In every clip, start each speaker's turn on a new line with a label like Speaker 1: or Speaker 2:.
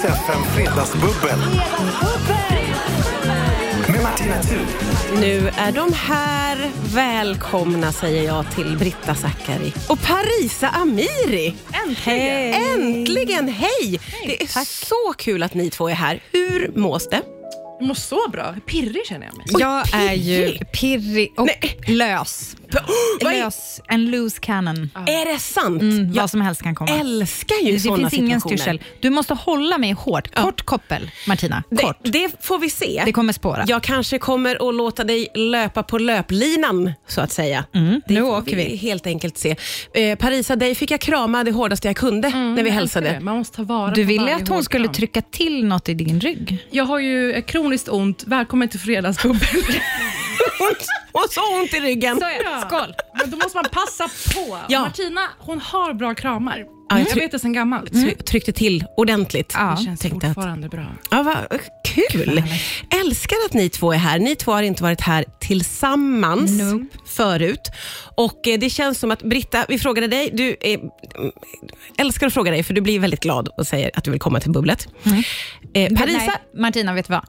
Speaker 1: säga fem fredagsbubbel. Med Martina Thun.
Speaker 2: Nu är de här. Välkomna säger jag till Britta Zackari och Parisa Amiri.
Speaker 3: Äntligen!
Speaker 2: Äntligen, hej! Det är så kul att ni två är här. Hur mås det?
Speaker 3: Jag mår så bra. Pirrig känner jag mig.
Speaker 4: Jag är ju pirrig och
Speaker 2: Nej.
Speaker 4: lös.
Speaker 2: Vad är-
Speaker 4: lös. En loose cannon.
Speaker 2: Är det sant?
Speaker 4: Mm,
Speaker 2: jag
Speaker 4: vad som helst kan komma.
Speaker 2: älskar
Speaker 4: det
Speaker 2: ju
Speaker 4: finns
Speaker 2: sådana
Speaker 4: ingen
Speaker 2: situationer.
Speaker 4: styrsel. Du måste hålla mig hårt. Kort koppel, Martina.
Speaker 2: Det,
Speaker 4: Kort.
Speaker 2: det får vi se.
Speaker 4: Det kommer spåra.
Speaker 2: Jag kanske kommer att låta dig löpa på löplinan, så att säga. det
Speaker 4: Mm, nu
Speaker 2: får
Speaker 4: åker vi.
Speaker 2: helt enkelt se. Eh, Parisa, dig fick jag krama det hårdaste jag kunde
Speaker 4: Mm,
Speaker 3: Mm,
Speaker 2: när vi hälsade.
Speaker 3: Man måste ta vara
Speaker 4: Du
Speaker 3: på
Speaker 4: ville
Speaker 3: varje
Speaker 4: att hon skulle
Speaker 3: hårkram.
Speaker 4: trycka till något i din rygg.
Speaker 3: Jag har ju ett kroniskt ont. Välkommen till fredagsbubbel.
Speaker 2: Och så ont i ryggen.
Speaker 4: Så är det. Skål.
Speaker 3: Men då måste man passa på.
Speaker 2: Ja.
Speaker 3: Martina, hon har bra kramar.
Speaker 2: jag
Speaker 3: jag
Speaker 2: tror-
Speaker 3: vet det sen gammalt.
Speaker 2: Try- Tryckte till ordentligt.
Speaker 4: Mm. Ja.
Speaker 3: Det känns
Speaker 2: tänkte att-
Speaker 3: fortfarande bra.
Speaker 2: Ja, vad kul! Älskar att ni två är här. Ni två har inte varit här tillsammans
Speaker 4: Nope.
Speaker 2: förut. Och eh, Det känns som att, Britta, vi frågade dig. Du eh, älskar att fråga dig, för du blir väldigt glad och säger att du vill komma till bubblet. Eh, Parisa,
Speaker 4: Mm. Nej, Martina, vet du vad?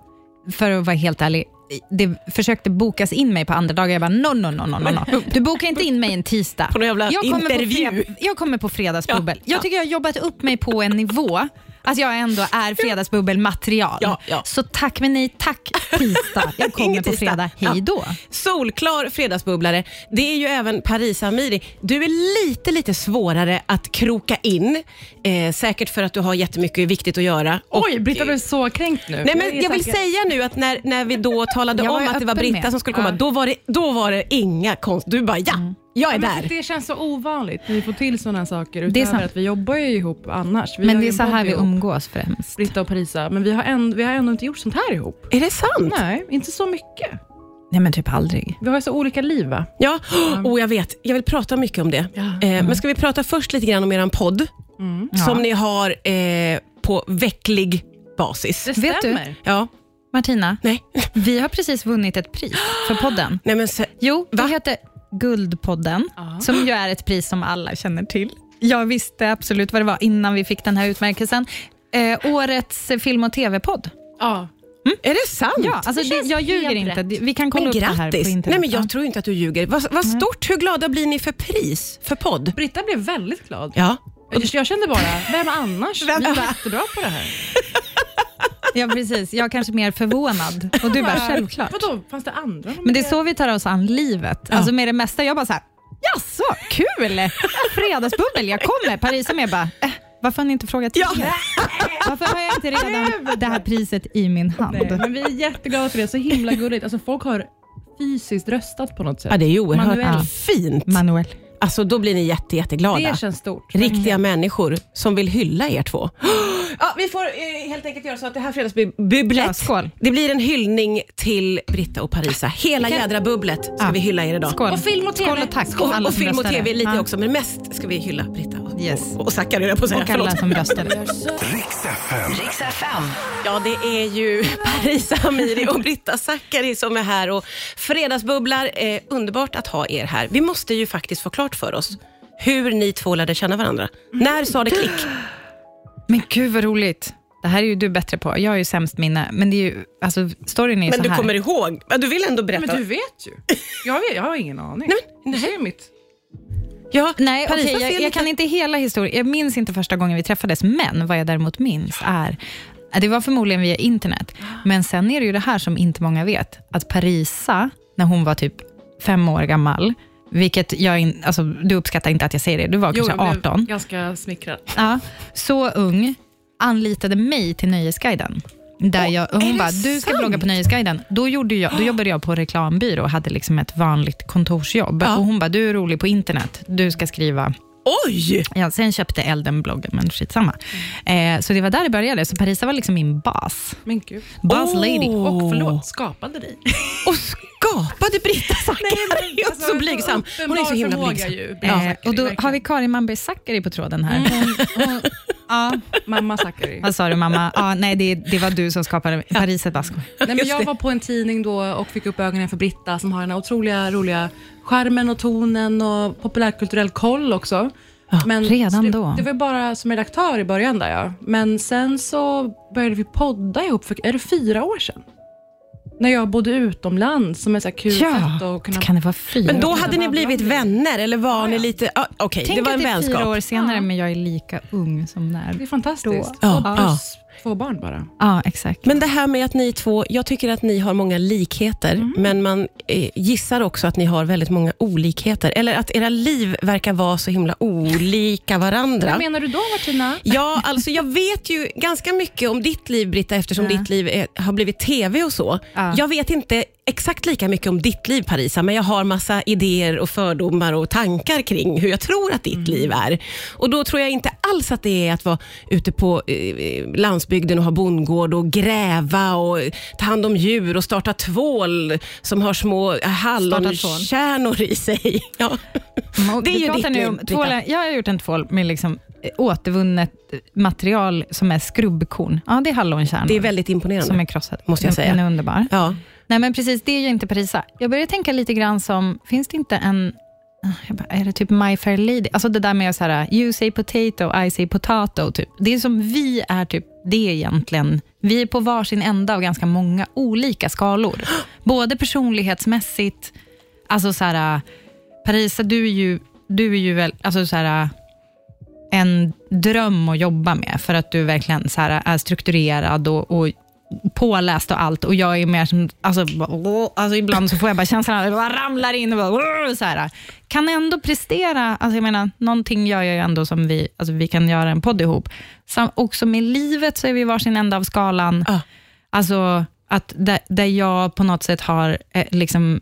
Speaker 4: För att vara helt ärlig, det försökte bokas in mig på andra dagar. Jag bara, no, no, no, no, no. no. Du bokar inte in mig en tisdag.
Speaker 2: På någon jävla
Speaker 4: jag kommer
Speaker 2: intervju.
Speaker 4: På fred- jag kommer på fredagsbubbel.
Speaker 2: Ja, ja.
Speaker 4: Jag tycker jag har jobbat upp mig på en nivå att jag ändå är fredagsbubbelmaterial.
Speaker 2: Ja, ja.
Speaker 4: Så tack men nej tack tisdag. Jag kommer
Speaker 2: Ingen
Speaker 4: på
Speaker 2: tisdag.
Speaker 4: fredag. Hej då.
Speaker 2: Solklar fredagsbubblare. Det är ju även Parisa Amiri. Du är lite, lite svårare att kroka in. Eh, säkert för att du har jättemycket viktigt att göra. Och-
Speaker 3: Oj, Britta blev så kränkt nu.
Speaker 2: Nej, men
Speaker 3: är
Speaker 2: jag vill
Speaker 3: säker.
Speaker 2: säga nu att när, när vi då talade
Speaker 4: Jag var
Speaker 2: om
Speaker 4: ju
Speaker 2: att det var
Speaker 4: öppen
Speaker 2: Britta
Speaker 4: med.
Speaker 2: som skulle komma, då, var det, då var det inga konst. Du bara ja, jag är
Speaker 3: Men
Speaker 2: där.
Speaker 3: det känns så ovanligt när vi får till sådana saker. Utöver
Speaker 4: Det är sant.
Speaker 3: att vi jobbar ju ihop annars. Vi
Speaker 4: Men
Speaker 3: har
Speaker 4: det
Speaker 3: ju
Speaker 4: är
Speaker 3: en
Speaker 4: så
Speaker 3: podd
Speaker 4: här vi
Speaker 3: ihop,
Speaker 4: umgås främst.
Speaker 3: Britta och Parisa, men vi har, ändå, vi har ändå inte gjort sånt här ihop.
Speaker 2: Är det sant?
Speaker 3: Nej, inte så mycket.
Speaker 4: Nej men typ aldrig.
Speaker 3: Vi har ju så olika liv va?
Speaker 2: Ja, oh, jag vet. Jag vill prata mycket om det.
Speaker 3: Ja.
Speaker 2: Eh, men ska vi prata först lite grann om er podd som ni har eh, på vecklig basis?
Speaker 3: Det
Speaker 4: Vet du?
Speaker 3: stämmer.
Speaker 2: Ja,
Speaker 4: Martina,
Speaker 2: nej.
Speaker 4: vi har precis vunnit ett pris för podden.
Speaker 2: nej men, se-
Speaker 4: Jo,
Speaker 2: Va?
Speaker 4: det heter Guldpodden,
Speaker 3: Ja.
Speaker 4: som ju är ett pris som alla känner till. Jag visste absolut vad det var innan vi fick den här utmärkelsen. Eh, årets film och tv-podd.
Speaker 3: Ja.
Speaker 2: Mm. är det sant?
Speaker 4: Ja, alltså det, jag ljuger
Speaker 3: helt
Speaker 4: inte. Det- Vi kan kolla
Speaker 2: Men
Speaker 4: upp det här på
Speaker 2: grattis!
Speaker 4: internet. Mm.
Speaker 2: Nej, men jag tror inte att du ljuger. Vad, vad stort! Hur glada blir ni för pris, för podd?
Speaker 3: Britta blev väldigt glad.
Speaker 2: Ja.
Speaker 3: Jag, jag kände bara, vem annars? Vi är jättebra på det här.
Speaker 4: ja, precis. Jag är kanske mer förvånad. Och du bara, självklart.
Speaker 3: Vadå, fanns det andra?
Speaker 4: Men det är så vi tar oss an livet. Alltså med det mesta, jag bara så här, jaså, kul! Fredagsbubbel, jag kommer. Paris som är bara, eh, varför har ni inte frågat
Speaker 2: Ja.
Speaker 4: till? Varför har jag inte redan det här priset i min hand?
Speaker 3: Nej, men vi är jätteglada för det, så himla gulligt. Alltså folk har fysiskt röstat på något sätt.
Speaker 2: ja, det är ju oerhört
Speaker 4: Manuel.
Speaker 2: fint.
Speaker 4: Manuel.
Speaker 2: Alltså, då blir ni jätte, jätteglada.
Speaker 3: Det känns stort.
Speaker 2: Riktiga människor som vill hylla er två. Ja, vi får eh, helt enkelt göra så att det här fredagsbubblet,
Speaker 4: Ja, skål.
Speaker 2: det blir en hyllning till Britta och Parisa. Hela jädra bubblet ska
Speaker 4: Ja.
Speaker 2: vi hylla er idag.
Speaker 4: Skål.
Speaker 3: Och film och TV.
Speaker 4: Skål och tack.
Speaker 2: Och,
Speaker 4: alla
Speaker 2: och
Speaker 4: som
Speaker 2: film och
Speaker 4: röstade.
Speaker 2: tv lite
Speaker 4: Ja.
Speaker 2: också, men mest ska vi hylla Britta och,
Speaker 4: Yes.
Speaker 2: och, och Zackari, höll jag på att säga.
Speaker 4: Och alla
Speaker 2: Förlåt.
Speaker 4: som röstade.
Speaker 1: Riks FM.
Speaker 2: Ja, det är ju Parisa Amiri och Britta Zackari som är här och fredagsbubblar. Eh, underbart att ha er här. Vi måste ju faktiskt få klart för oss hur ni två lärde känna varandra. När sa det klick?
Speaker 4: Men gud vad roligt. Det här är ju du bättre på. Jag är ju sämst minne. Men det är ju, alltså, storyn är ju
Speaker 2: Men
Speaker 4: så
Speaker 2: du
Speaker 4: här.
Speaker 2: kommer ihåg? Ja, Du vill ändå berätta?
Speaker 3: Men du vet ju. Jag, vet, jag har ingen aning. Nej, nej. mitt.
Speaker 2: Ja,
Speaker 4: Nej,
Speaker 2: Parisa
Speaker 4: okej,
Speaker 2: ser
Speaker 4: jag, jag
Speaker 2: lite-
Speaker 4: kan inte hela historien. Jag minns inte första gången vi träffades, men vad jag däremot minns är det var förmodligen via internet, men sen är det ju det här som inte många vet, att Parisa, när hon var typ fem år gammal, vilket jag in, alltså, du uppskattar inte att jag säger det, du var kanske
Speaker 3: jag blev
Speaker 4: 18,
Speaker 3: ganska smickrad.
Speaker 4: ja, så ung, anlitade mig till Nöjesguiden. Där jag, och
Speaker 2: är det
Speaker 4: hon bara, du ska
Speaker 2: sant?
Speaker 4: blogga på Nöjesguiden. Då, gjorde jag, då jobbade jag på reklambyrå och hade liksom ett vanligt kontorsjobb.
Speaker 2: Ja.
Speaker 4: Och hon bara, du är rolig på internet, du ska skriva
Speaker 2: Oj!
Speaker 4: Ja, sen köpte elden bloggen, men skitsamma. Eh, så det var där det började. Så Parisa var liksom min bas.
Speaker 3: Men gud.
Speaker 4: Bas
Speaker 2: Åh.
Speaker 4: lady.
Speaker 3: Och förlåt, skapade dig.
Speaker 2: Och skapade Britta Zackari och
Speaker 3: Alltså,
Speaker 2: så blygsam. Hon är alltså, så himla
Speaker 3: uppenbar
Speaker 2: blygsam.
Speaker 3: förmåga ju, Britta
Speaker 4: Eh,
Speaker 3: Zackari,
Speaker 4: och då har
Speaker 3: verkligen. Mm.
Speaker 4: vi Karin Malmberg Zackari på tråden här. Hon, hon, ja,
Speaker 3: Mamma Zackari.
Speaker 4: vad sa du mamma? Ja, nej, det, det var du som skapade Parisa bara skoj.
Speaker 3: Nej, men jag var på en tidning då och fick upp ögonen för Britta som har den här otroliga roliga skärmen och tonen och populärkulturell koll också. Men
Speaker 4: redan
Speaker 3: så det,
Speaker 4: då.
Speaker 3: Det var bara som redaktör i början där ja. Men sen så började vi podda ihop för, är det fyra år sedan? När jag bodde utomlands som är så här kul
Speaker 4: Ja,
Speaker 3: sätt att kunna...
Speaker 4: det kan det vara fyra
Speaker 2: Men då
Speaker 4: år?
Speaker 2: hade ni blivit vänner, eller var ni lite... Ah, Okej,
Speaker 4: Tänk
Speaker 2: det var en
Speaker 4: att det är fyra
Speaker 2: vänskap.
Speaker 4: år senare, men jag är lika ung som när.
Speaker 3: Det är
Speaker 4: Ja,
Speaker 3: fantastiskt.
Speaker 2: Ja,
Speaker 3: Och
Speaker 2: ja.
Speaker 3: plus två barn bara.
Speaker 4: exakt.
Speaker 2: Men det här med att ni två, jag tycker att ni har många likheter, men man eh, gissar också att ni har väldigt många olikheter. Eller att era liv verkar vara så himla olika varandra.
Speaker 3: Vad menar du då Martina?
Speaker 2: Ja, alltså jag vet ju ganska mycket om ditt liv Britta, eftersom
Speaker 4: Ja.
Speaker 2: ditt liv är, har blivit TV och så.
Speaker 4: Ja.
Speaker 2: Jag vet inte exakt lika mycket om ditt liv Parisa, men jag har massa idéer och fördomar och tankar kring hur jag tror att ditt
Speaker 4: Mm.
Speaker 2: liv är. Och då tror jag inte alls att det är att vara ute på eh, landsbygden och ha bondgård och gräva och ta hand om djur och starta tvål som har små hallonkärnor i sig. Ja.
Speaker 4: Men
Speaker 2: Det är
Speaker 4: vi
Speaker 2: ju
Speaker 4: pratar
Speaker 2: ditt
Speaker 4: nu
Speaker 2: liv,
Speaker 4: om
Speaker 2: Britta.
Speaker 4: tvålen. Jag har gjort en tvål med liksom eh, återvunnet material som är skrubbkorn. Ja, det är hallonkärnor
Speaker 2: Det är väldigt
Speaker 4: som
Speaker 2: imponerande.
Speaker 4: är krossade.
Speaker 2: måste jag
Speaker 4: Den-
Speaker 2: säga.
Speaker 4: Den är underbar.
Speaker 2: Ja.
Speaker 4: Nej, men precis, det är ju inte Parisa. Jag börjar tänka lite grann som, finns det inte en, jag bara, är det typ My Fair Lady? Alltså det där med så här, you say potato, I say potato, typ. Det är som vi är typ det egentligen. Vi är på varsin ända av ganska många olika skalor. Både personlighetsmässigt, alltså så här, Parisa, du är ju, du är ju väl, alltså så här, en dröm att jobba med, för att du verkligen så här, är strukturerad och, och påläst och allt och jag är mer som, alltså, bara- alltså ibland så får jag bara känslan att jag bara ramlar in och bara, så här. Kan ändå prestera, alltså jag menar, någonting gör jag ju ändå som vi, alltså vi kan göra en podd ihop. Sam, också med livet så är vi varsin ända av skalan.
Speaker 2: Ja.
Speaker 4: Alltså att där, där jag på något sätt har eh, liksom,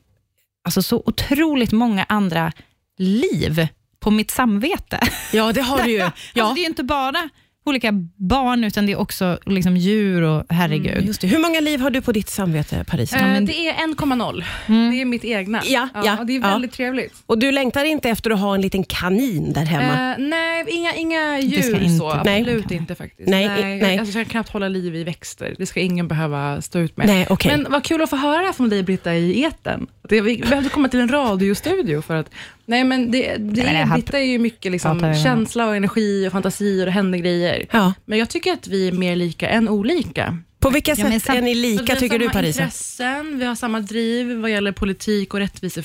Speaker 4: alltså så otroligt många andra liv på mitt samvete.
Speaker 2: ja, det har du ju.
Speaker 4: Alltså
Speaker 2: Eh, Ja.
Speaker 4: det är ju inte bara olika barn, utan det är också liksom djur och herregud.
Speaker 2: Just det. Hur många liv har du på ditt samvete, Paris?
Speaker 3: Eh, Det är 1,0. Det är mitt egna.
Speaker 2: Mm. Ja, ja,
Speaker 3: och det är
Speaker 2: ja.
Speaker 3: väldigt trevligt.
Speaker 2: Och du längtar inte efter att ha en liten kanin där hemma?
Speaker 3: Eh, nej, inga, inga
Speaker 4: Det ska
Speaker 3: djur
Speaker 4: inte
Speaker 3: så.
Speaker 4: vara
Speaker 2: Nej.
Speaker 3: Absolut inte faktiskt.
Speaker 2: Nej, i- nej.
Speaker 3: Alltså, jag kan knappt hålla liv i växter. Det ska ingen behöva stå ut med.
Speaker 2: Nej, okej.
Speaker 3: Men vad kul att få höra det här från dig, Britta, i etern. Det, vi behövde komma till en radiostudio för att... Nej, men det, det,
Speaker 4: men det här
Speaker 3: Britta är ju mycket
Speaker 4: pratar
Speaker 3: liksom,
Speaker 4: vi om.
Speaker 3: känsla och energi och fantasier och händer grejer.
Speaker 2: Ja.
Speaker 3: Men jag tycker att vi är mer lika än olika.
Speaker 2: På vilka
Speaker 4: Ja, men
Speaker 2: sätt
Speaker 4: sam-
Speaker 2: är ni
Speaker 3: Så Alltså, vi
Speaker 2: lika,
Speaker 3: har
Speaker 2: tycker du,
Speaker 3: samma
Speaker 2: Parisa?
Speaker 3: intressen, vi har samma driv vad gäller politik och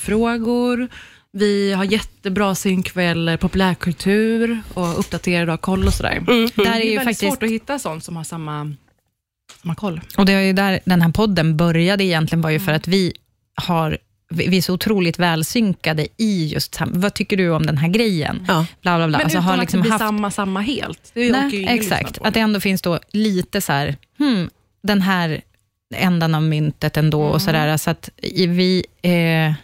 Speaker 3: rättvisefrågor. Vi har jättebra synk vad gäller populärkultur och uppdaterade och har koll och sådär.
Speaker 4: Där är
Speaker 3: Mm. Det är
Speaker 4: ju
Speaker 3: väldigt
Speaker 4: faktiskt,
Speaker 3: svårt att hitta sånt som har samma, samma koll.
Speaker 4: och det är ju där den här podden började egentligen, var ju
Speaker 3: Mm.
Speaker 4: för att vi har vi vi är så otroligt välsynkade i just, sam- vad tycker du om den här grejen?
Speaker 2: Ja.
Speaker 4: Bla, bla, bla.
Speaker 3: Mm. Men
Speaker 4: alltså,
Speaker 3: utan
Speaker 4: har
Speaker 3: att
Speaker 4: liksom
Speaker 3: det blir
Speaker 4: haft
Speaker 3: samma, samma helt. Det orkar ju
Speaker 4: Nej,
Speaker 3: ingen
Speaker 4: exakt.
Speaker 3: lyssna på.
Speaker 4: Att det ändå finns då lite så här, hmm, den här ändan av myntet ändå
Speaker 3: Mm.
Speaker 4: och sådär. Så att i- vi, eh,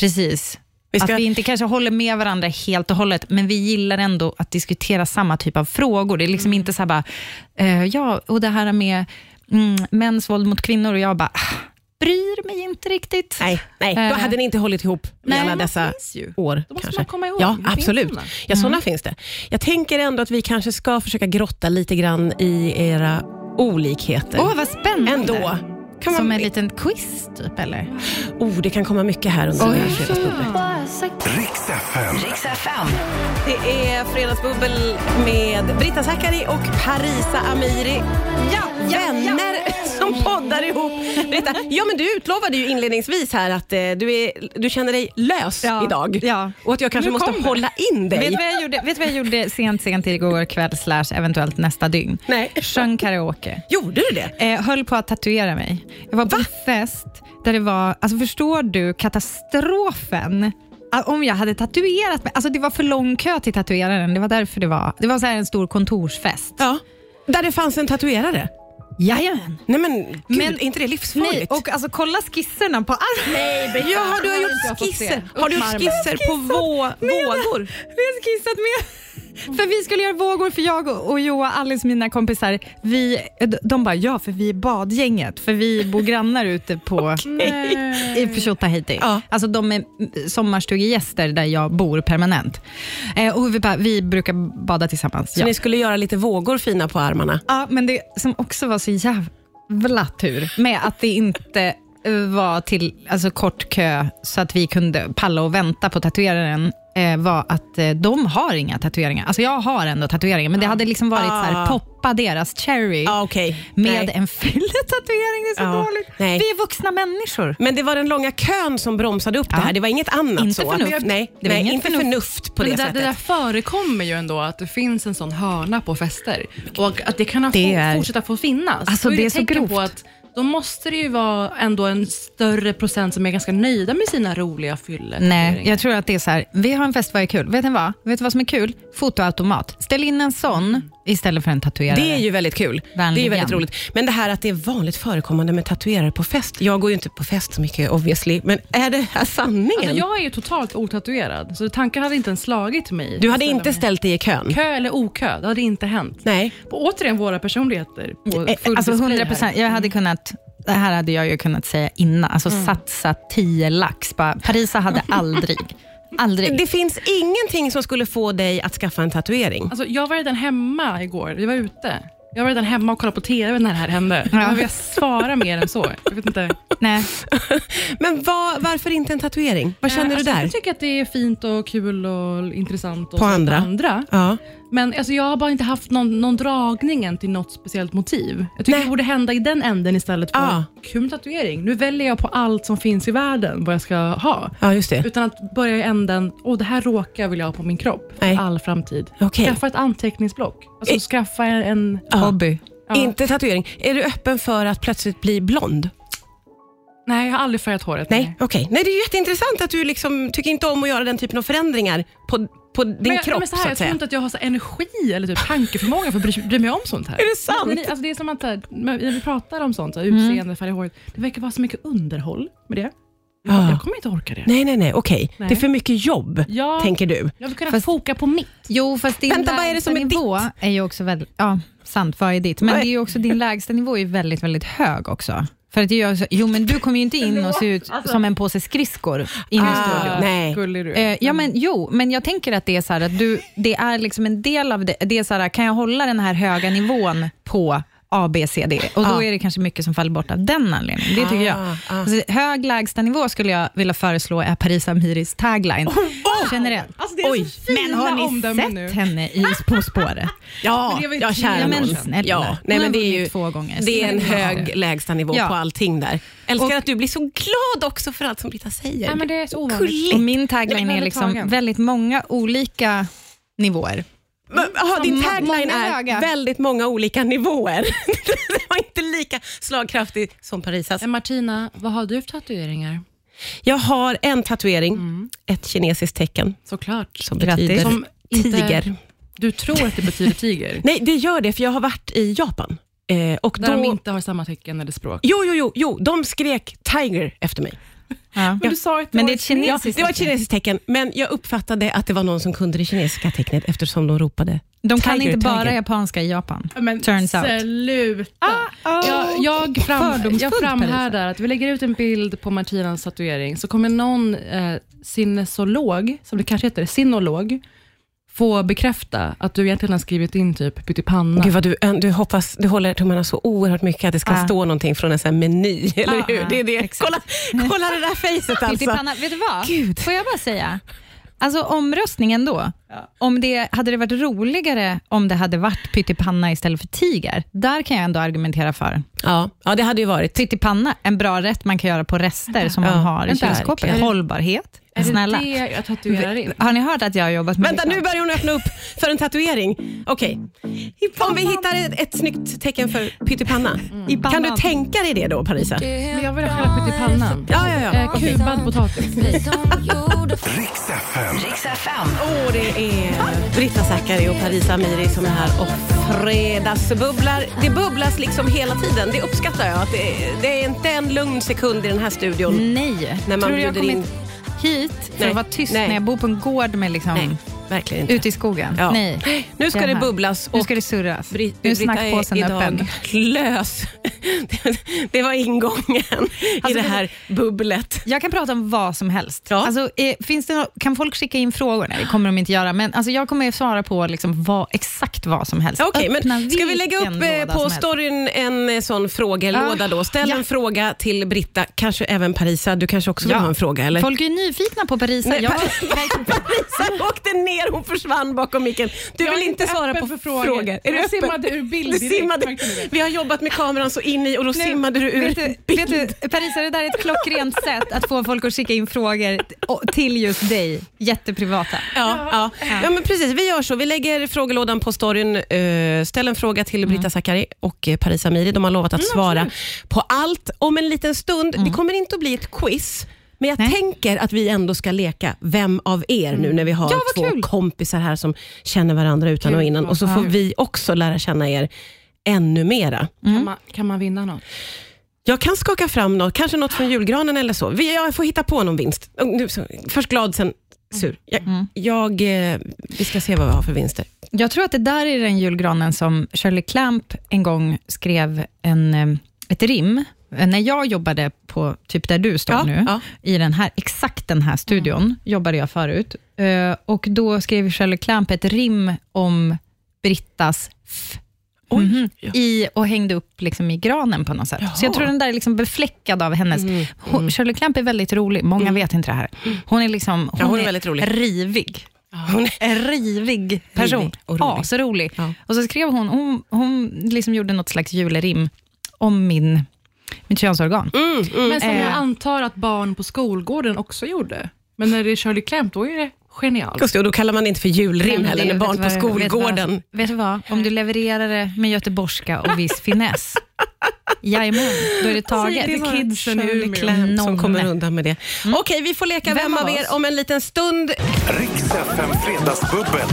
Speaker 4: precis.
Speaker 2: Vi ska-
Speaker 4: Att vi inte kanske håller med varandra helt och hållet, men vi gillar ändå att diskutera samma typ av frågor. Det är
Speaker 2: Mm.
Speaker 4: liksom inte så här bara, eh, ja, och det här med mm, mäns våld mot kvinnor och jag bara, ah, bryr mig inte riktigt.
Speaker 2: Nej, nej. då
Speaker 4: Eh.
Speaker 2: hade ni inte hållit ihop
Speaker 4: Nej,
Speaker 2: i alla
Speaker 4: men
Speaker 2: dessa
Speaker 3: finns ju.
Speaker 2: år.
Speaker 3: Då måste
Speaker 2: kanske.
Speaker 3: man komma ihåg.
Speaker 2: Ja,
Speaker 3: Det finns
Speaker 2: absolut.
Speaker 3: sådana.
Speaker 2: Ja, sådana finns det. Jag tänker ändå att vi kanske ska försöka grotta lite grann i era olikheter.
Speaker 4: Åh, vad spännande.
Speaker 2: ändå. Kan
Speaker 4: Som
Speaker 2: man,
Speaker 4: en liten quiz, typ, eller?
Speaker 2: oh, det kan komma mycket här under den här fredagsbubblan.
Speaker 1: Riks FM.
Speaker 2: Det är Fredagsbubbel med Britta Zackari och Parisa Amiri. Ja, vänner som poddar ihop. Britta, ja, men du utlovade ju inledningsvis här att eh, du, är, du känner dig lös
Speaker 4: Ja,
Speaker 2: idag
Speaker 4: ja.
Speaker 2: och att jag kanske
Speaker 4: Nu
Speaker 2: måste
Speaker 4: kom det.
Speaker 2: hålla in dig.
Speaker 4: Vet du vad jag gjorde, vet du vad jag gjorde sent, sent igår kväll, slash eventuellt nästa dygn?
Speaker 2: Nej.
Speaker 4: Sjöng karaoke.
Speaker 2: Gjorde du det?
Speaker 4: Eh, höll på att tatuera mig. Jag var på en fest där det var, alltså förstår du katastrofen? Ah, Om jag hade tatuerat mig. Alltså det var för lång kö till tatueraren. Det var därför det var. Det var så här en stor kontorsfest.
Speaker 2: Ja. Där det fanns en tatuerare?
Speaker 4: Jajamän.
Speaker 2: Nej men gud,
Speaker 4: Men-
Speaker 2: är inte det
Speaker 4: Nej,
Speaker 2: livsfarligt?
Speaker 4: och alltså kolla skisserna på armen. Nej,
Speaker 2: Jaha, du har
Speaker 3: har inte jag
Speaker 2: gjort
Speaker 3: fått se.
Speaker 2: skisser. Har du gjort
Speaker 3: Uppmarmen.
Speaker 2: skisser på vå, vågor? Mm.
Speaker 4: Vi har skissat med. För vi skulle göra vågor för jag och och Joa, Alice, mina kompisar, vi, de bara ja för vi är badgänget, för vi bor grannar ute på i Pishotahiti.
Speaker 2: Ja.
Speaker 4: Alltså de är mm, sommarstugegäster där jag bor permanent. Eh, och vi, bara, vi brukar bada tillsammans.
Speaker 2: Så
Speaker 4: Ja.
Speaker 2: ni skulle göra lite vågor fina på armarna?
Speaker 4: ja, men det som också var så jävla tur med att det inte eh, var till alltså, kort kö så att vi kunde palla och vänta på tatueraren eh, var att eh, de har inga tatueringar. Alltså jag har ändå tatueringar, men det hade liksom varit så här,
Speaker 2: Ah.
Speaker 4: poppa deras cherry
Speaker 2: Ja, okej.
Speaker 4: med
Speaker 2: Nej.
Speaker 4: en fylletatuering. Det är så
Speaker 2: Ja.
Speaker 4: dåligt.
Speaker 2: Nej. Mm.
Speaker 4: Vi är vuxna människor.
Speaker 2: Men det var den långa kön som bromsade upp det här. Det var inget annat
Speaker 4: Inte
Speaker 2: så.
Speaker 4: förnuft.
Speaker 2: Nej,
Speaker 4: Det var
Speaker 2: nej
Speaker 4: inget
Speaker 2: inte
Speaker 4: förnuft.
Speaker 2: förnuft, på det,
Speaker 3: Men det, där,
Speaker 2: sättet.
Speaker 3: det där förekommer ju ändå att det finns en sån hörna på fester och att det kan ha
Speaker 4: Det
Speaker 3: få,
Speaker 4: är-
Speaker 3: fortsätta få finnas.
Speaker 4: Alltså,
Speaker 3: Då
Speaker 4: det är
Speaker 3: ett
Speaker 4: så
Speaker 3: tecken
Speaker 4: grovt.
Speaker 3: På att då måste det ju vara ändå en större procent som är ganska nöjda med sina roliga fyller. Alltså,
Speaker 4: Nej, jag tror att det är så här, vi har en fest, vad är kul? Vet ni vad? Vet du vad som är kul? Fotoautomat. Ställ in en sån istället för en tatuerare.
Speaker 2: Mm. Det är ju väldigt kul. Det är ju
Speaker 4: Vänligen.
Speaker 2: väldigt roligt. Men det här att det är vanligt förekommande med tatuerare på fest. Jag går ju inte på fest så mycket obviously, men är det här sanningen?
Speaker 3: Alltså, jag är ju totalt otatuerad, så tanken hade inte ens slagit mig.
Speaker 2: Du hade
Speaker 3: Ställa
Speaker 2: inte
Speaker 3: mig.
Speaker 2: ställt dig i kön?
Speaker 3: Alltså, Kö eller okö, det hade inte hänt.
Speaker 2: Nej.
Speaker 3: Och återigen våra personligheter på full
Speaker 4: Eh, Alltså
Speaker 3: display
Speaker 4: 100
Speaker 3: här.
Speaker 4: procent. Jag
Speaker 2: Mm.
Speaker 4: hade kunnat, det här hade jag ju kunnat säga innan. Alltså satsa 10 lax. Bara, Parisa hade aldrig, aldrig.
Speaker 2: Det finns ingenting som skulle få dig att skaffa en tatuering.
Speaker 3: Alltså, jag var redan hemma igår. Vi var ute. Jag var redan hemma och kollade på TV när det här hände. Jag vill svara mer än så. Jag vet inte.
Speaker 4: Nej.
Speaker 2: Men vad- varför inte en tatuering? Vad känner du
Speaker 3: Alltså,
Speaker 2: där?
Speaker 3: Jag tycker att det är fint och kul och intressant. Och
Speaker 2: På
Speaker 3: så
Speaker 2: andra.
Speaker 3: andra.
Speaker 2: Ja.
Speaker 3: Men alltså, jag har bara inte haft någon, någon dragningen till något speciellt motiv. Jag tycker
Speaker 2: Nej. Ah.
Speaker 3: det borde hända i den änden istället för
Speaker 2: Ja.
Speaker 3: kul tatuering. Nu väljer jag på allt som finns i världen vad jag ska ha.
Speaker 2: ja, just det.
Speaker 3: Utan att börja i änden, åh det här råkar jag vilja ha på min kropp
Speaker 2: Nej.
Speaker 3: för all framtid.
Speaker 2: Okej.
Speaker 3: Skaffa ett anteckningsblock. Alltså,
Speaker 2: I-
Speaker 3: skaffa en, en
Speaker 4: Hobby.
Speaker 3: ja.
Speaker 2: Inte tatuering. Är du öppen för att plötsligt bli blond?
Speaker 3: Nej, jag har aldrig färgat håret.
Speaker 2: Nej, okej. Nej, det är ju jätteintressant att du liksom tycker inte om att göra den typen av förändringar på, på din
Speaker 3: Men jag,
Speaker 2: kropp,
Speaker 3: men
Speaker 2: så,
Speaker 3: så,
Speaker 2: att
Speaker 3: här, Jag tror
Speaker 2: säga.
Speaker 3: inte att jag har så här energi eller typ tankeförmåga för att bry, bry mig om sånt här.
Speaker 2: Är det sant?
Speaker 3: Men, alltså, det är som att så här, när vi pratar om sånt, så här, utseende, färg i håret. Det verkar vara så mycket underhåll med det. Jag,
Speaker 2: Ja.
Speaker 3: jag kommer inte orka det.
Speaker 2: Ah. Nej, nej, nej. Okej.
Speaker 3: Nej.
Speaker 2: Det är för mycket jobb,
Speaker 3: Ja.
Speaker 2: tänker du.
Speaker 3: Jag vill kunna
Speaker 4: Fast-
Speaker 3: foka på mitt.
Speaker 4: Jo, fast din
Speaker 2: Vänta, vad är det som är
Speaker 4: lägstanivå är ju också väldigt... Ja, sant. Vad är ditt? Men
Speaker 2: Vad är-
Speaker 4: det är ju också, din lägstanivå är ju väldigt, väldigt hög också. För att det gör så, jo, men du kommer ju inte in och se ut som en påse skridskor i en
Speaker 2: Alltså- Ah.
Speaker 4: studio.
Speaker 2: nej.
Speaker 3: Gullig du är.
Speaker 4: Eh,
Speaker 2: Mm.
Speaker 4: ja, men jo, men jag tänker att det är så här att du, det är liksom en del av det. det är så här, kan jag hålla den här höga nivån på A, B, C, D? Och då
Speaker 2: Ah.
Speaker 4: är det kanske mycket som faller bort av den anledningen. Det tycker
Speaker 2: Ah,
Speaker 4: jag.
Speaker 2: ah.
Speaker 4: Alltså, hög lägstanivå skulle jag vilja föreslå är Paris Amiris tagline.
Speaker 2: Oh,
Speaker 4: Generellt.
Speaker 3: Alltså, det är
Speaker 2: Oj,
Speaker 3: så fina
Speaker 4: Men har ni
Speaker 3: omdömen
Speaker 4: sett
Speaker 3: nu.
Speaker 4: henne i På spåret?
Speaker 2: Ja,
Speaker 3: Men det var ju
Speaker 2: ja,
Speaker 3: tio
Speaker 2: kära
Speaker 3: år
Speaker 2: nån.
Speaker 4: sedan. Snälla.
Speaker 2: Ja,
Speaker 4: Hon
Speaker 2: nej,
Speaker 4: har
Speaker 2: men det är
Speaker 4: vunnit
Speaker 2: ju
Speaker 4: två gånger, så
Speaker 2: Det är en
Speaker 4: det är bra.
Speaker 2: hög lägstanivå
Speaker 4: Ja.
Speaker 2: på allting där. Älskar
Speaker 4: Och-
Speaker 2: att du blir så glad också för allt som Britta säger.
Speaker 3: Nej, men det är så ovanligt.
Speaker 4: Och
Speaker 2: Gulligt.
Speaker 4: min
Speaker 3: Jag är
Speaker 4: tagline är
Speaker 3: väldigt
Speaker 4: liksom
Speaker 3: tagen.
Speaker 4: väldigt många olika nivåer.
Speaker 2: Men, aha, din
Speaker 4: Må-
Speaker 2: tagline
Speaker 4: många
Speaker 2: är
Speaker 4: höga.
Speaker 2: väldigt många olika nivåer. det var inte lika slagkraftig som Parisas.
Speaker 3: Eh, Martina, vad har du för tatueringar?
Speaker 2: Jag har en tatuering,
Speaker 3: Mm.
Speaker 2: ett kinesiskt tecken
Speaker 3: Såklart.
Speaker 2: som
Speaker 4: Grattis.
Speaker 2: betyder
Speaker 3: Som inte-
Speaker 2: tiger.
Speaker 3: Du tror att det betyder tiger?
Speaker 2: Nej, det gör det, för jag har varit i Japan. Eh, och
Speaker 3: Där de
Speaker 2: då...
Speaker 3: inte har samma tecken eller språk.
Speaker 2: Jo, jo, jo, jo, de skrek tiger efter mig.
Speaker 4: Ja.
Speaker 3: Men du sa att
Speaker 4: Men
Speaker 3: var
Speaker 4: det är ett kinesiskt
Speaker 2: Det var ett
Speaker 4: tecken.
Speaker 2: kinesiskt tecken, men jag uppfattade att det var någon som kunde det kinesiska tecknet eftersom de ropade.
Speaker 4: De kan
Speaker 2: Tiger,
Speaker 4: inte bara
Speaker 2: tiger. Ah,
Speaker 4: japanska i Japan.
Speaker 3: Men
Speaker 4: Turns out.
Speaker 3: sluta. Jag, jag, fram,
Speaker 4: Fördomsfullt,
Speaker 3: jag framhärdar att vi lägger ut en bild på Martinas tatuering, så kommer någon eh, sinnesolog, som det kanske heter, sinolog, få bekräfta att du egentligen har skrivit in typ pyttipanna.
Speaker 2: Gud vad du, du hoppas, du håller tummarna så oerhört mycket att det ska
Speaker 4: Ja.
Speaker 2: stå någonting från en sån här meny, eller
Speaker 4: Ja,
Speaker 2: hur?
Speaker 4: ja,
Speaker 2: Det är det.
Speaker 4: Ah. exakt.
Speaker 2: Kolla, kolla det där fejset alltså.
Speaker 4: Pyttipanna. Vet du vad?
Speaker 2: Gud.
Speaker 4: Får jag bara säga? Alltså omröstningen då, om det, hade det varit roligare om det hade varit pyttipanna istället för tiger? Där kan jag ändå argumentera för.
Speaker 2: Ja, ja, det hade ju varit.
Speaker 4: Pyttipanna, en bra rätt man kan göra på rester som
Speaker 2: Ja,
Speaker 4: man har i
Speaker 2: vänta,
Speaker 4: kylskåpet.
Speaker 2: verkligen.
Speaker 4: Hållbarhet,
Speaker 3: är
Speaker 4: snälla.
Speaker 3: det det jag tatuerar in?
Speaker 4: Har ni hört att jag har jobbat med
Speaker 2: Vänta, nu börjar hon öppna upp för en tatuering. Okej, om vi hittar ett, ett snyggt tecken för pyttipanna,
Speaker 4: Mm. I
Speaker 2: kan du
Speaker 4: pannan.
Speaker 2: tänka dig det då Parisa?
Speaker 3: Men jag vill ha hela pyttipannan.
Speaker 2: Ja, ja, ja.
Speaker 3: Eh, kubad potatis.
Speaker 1: Riks FM.
Speaker 2: Och det är Britta Zackari och Parisa Amiri som är här och fredagsbubblar. Det bubblas liksom hela tiden. Det uppskattar jag. Att det, det är inte en lugn sekund i den här studion.
Speaker 4: Nej.
Speaker 2: När man
Speaker 4: Tror du jag har
Speaker 2: bjuder
Speaker 4: kommit
Speaker 2: in-
Speaker 4: hit för
Speaker 2: Nej.
Speaker 4: att vara tyst
Speaker 2: Nej.
Speaker 4: när jag bor på en gård med liksom
Speaker 2: Nej. verkligen inte.
Speaker 4: Ute i skogen?
Speaker 2: Ja.
Speaker 4: Nej.
Speaker 2: Nu ska
Speaker 4: Jag
Speaker 2: det
Speaker 4: är här.
Speaker 2: bubblas
Speaker 4: Nu
Speaker 2: och
Speaker 4: ska det surras.
Speaker 2: Bri-
Speaker 4: nu är
Speaker 2: Britta är
Speaker 4: snackpåsen
Speaker 2: idag
Speaker 4: öppen.
Speaker 2: lös. Det- Det var ingången i det
Speaker 4: Alltså, det-
Speaker 2: här bubblet.
Speaker 4: Jag kan prata om vad som helst.
Speaker 2: Ja.
Speaker 4: Alltså, eh, finns det no- kan folk skicka in frågor? Nej, det kommer de inte göra. Men alltså, jag kommer att svara på liksom vad, exakt vad som helst.
Speaker 2: Okej,
Speaker 4: Öppna
Speaker 2: men ska vi lägga
Speaker 4: vilken
Speaker 2: upp eh,
Speaker 4: låda
Speaker 2: på
Speaker 4: som helst.
Speaker 2: storyn en eh, sån frågelåda
Speaker 4: Ah,
Speaker 2: då? Ställ
Speaker 4: ja.
Speaker 2: en fråga till Britta, kanske även Parisa. Du kanske också vill
Speaker 4: Ja.
Speaker 2: ha en fråga? Eller?
Speaker 4: Folk är ju nyfikna på Parisa.
Speaker 2: Nej,
Speaker 4: jag,
Speaker 2: Par- Parisa åkte ner, hon försvann bakom micken. Du
Speaker 3: Jag
Speaker 2: vill
Speaker 3: är
Speaker 2: inte
Speaker 3: inte
Speaker 2: svara
Speaker 3: öppen
Speaker 2: på
Speaker 3: för
Speaker 2: frågor.
Speaker 3: frågor.
Speaker 2: Är du
Speaker 3: Jag
Speaker 2: öppen?
Speaker 3: simmade ur bild
Speaker 2: Du
Speaker 3: direkt,
Speaker 2: simmade-
Speaker 3: märkte du det?
Speaker 2: Vi har jobbat med kameran så in i och då simmade du ur
Speaker 4: vet du, vet du, Parisa, det där är ett klockrent sätt att få folk att skicka in frågor t- och- till just dig. Jätteprivata.
Speaker 2: Ja, ja. ja men precis. Vi gör så. Vi lägger frågelådan på storyn. eh, Ställ en fråga till Brita Zackari och eh, Parisa Amiri. De har lovat att svara på allt om en liten stund. Det kommer inte att bli ett quiz. Men jag
Speaker 4: Nej.
Speaker 2: tänker att vi ändå ska leka Vem av er nu när vi har
Speaker 4: Ja, vad
Speaker 2: två
Speaker 4: kul.
Speaker 2: kompisar här som känner varandra utan och
Speaker 3: Kul,
Speaker 2: innan.
Speaker 3: vad
Speaker 2: Och så får
Speaker 3: kul.
Speaker 2: vi också lära känna er ännu mera.
Speaker 3: Kan, man, kan man vinna något?
Speaker 2: Jag kan skaka fram något, kanske något från julgranen eller så. Vi- Jag får hitta på någon vinst. Oh, Nu, så, först glad, sen sur. Jag, jag, eh, vi ska se vad vi har för vinster.
Speaker 4: Mm. Jag tror att det där är den julgranen som Shirley Clamp en gång skrev en, eh, ett rim, Eh, när jag jobbade på typ där du står
Speaker 2: Ja,
Speaker 4: nu,
Speaker 2: ja.
Speaker 4: i den här, exakt den här studion, jobbade jag förut, Eh, och då skrev Shirley Clamp ett rim om Brittas f
Speaker 2: Oj.
Speaker 4: Mhm. i, och hängde upp liksom i granen på något sätt. Så jag tror den där är liksom befläckad av hennes... Hon, Shirley Clamp är väldigt rolig, många vet inte det här. Hon är liksom hon
Speaker 2: Ja, hon är väldigt rolig.
Speaker 4: rivig.
Speaker 2: Hon,
Speaker 4: En rivig person.
Speaker 2: Rivig och rolig.
Speaker 4: Asrolig.
Speaker 2: Ja.
Speaker 4: Och så skrev hon, hon, hon liksom gjorde något slags julrim om min, mitt könsorgan.
Speaker 2: Mm.
Speaker 3: Men som jag
Speaker 4: Eh.
Speaker 3: antar att barn på skolgården också gjorde. Men när det är Shirley Clamp, då är det genialt.
Speaker 2: just det, och då kallar man det inte för julrim
Speaker 4: Men
Speaker 2: heller,
Speaker 4: det-
Speaker 2: när
Speaker 4: vet
Speaker 2: barn
Speaker 4: du
Speaker 2: på
Speaker 4: vad- Vet du,
Speaker 2: skolgården.
Speaker 4: vad, vet du vad? Om du levererar det med göteborgska och viss finess, jajamän, då är det taget.
Speaker 2: Alltså, Det är kidsen i
Speaker 4: Shirley
Speaker 2: Umeå som
Speaker 4: Nonne.
Speaker 2: kommer undan med det. Okej, vi får leka Vem,
Speaker 4: Mm. Vem
Speaker 2: av
Speaker 4: av
Speaker 2: er
Speaker 4: oss?
Speaker 2: om en liten stund.
Speaker 1: Riks FM Fredagsbubbel.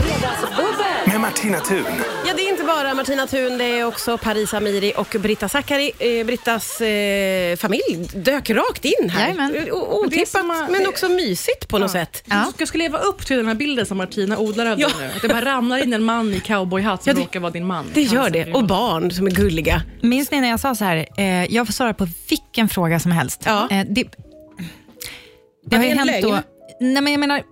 Speaker 1: Med Martina Thun.
Speaker 2: Ja, det är inte bara Martina Thun, det är också Paris Amiri och Britta Zackari. Eh, Brittas eh, familj dök rakt in här.
Speaker 4: Jajamän.
Speaker 2: O- Otippat,
Speaker 3: som att-
Speaker 2: men också mysigt på något sätt.
Speaker 4: Ja.
Speaker 3: Du ska leva upp till den här bilden som Martina odlar över
Speaker 2: Ja.
Speaker 3: dig nu. Att det bara ramlar in en man i cowboyhatt som
Speaker 2: Ja, det-
Speaker 3: råkar vara din man.
Speaker 2: Det gör det. Och barn som är gulliga.
Speaker 4: Minns ni när jag sa så här, eh, jag får svara på vilken fråga som helst.
Speaker 2: Ja.
Speaker 4: Eh, det det har
Speaker 2: det är
Speaker 4: ju
Speaker 2: en
Speaker 4: hänt då...
Speaker 2: lögn.
Speaker 4: Nej, men jag menar,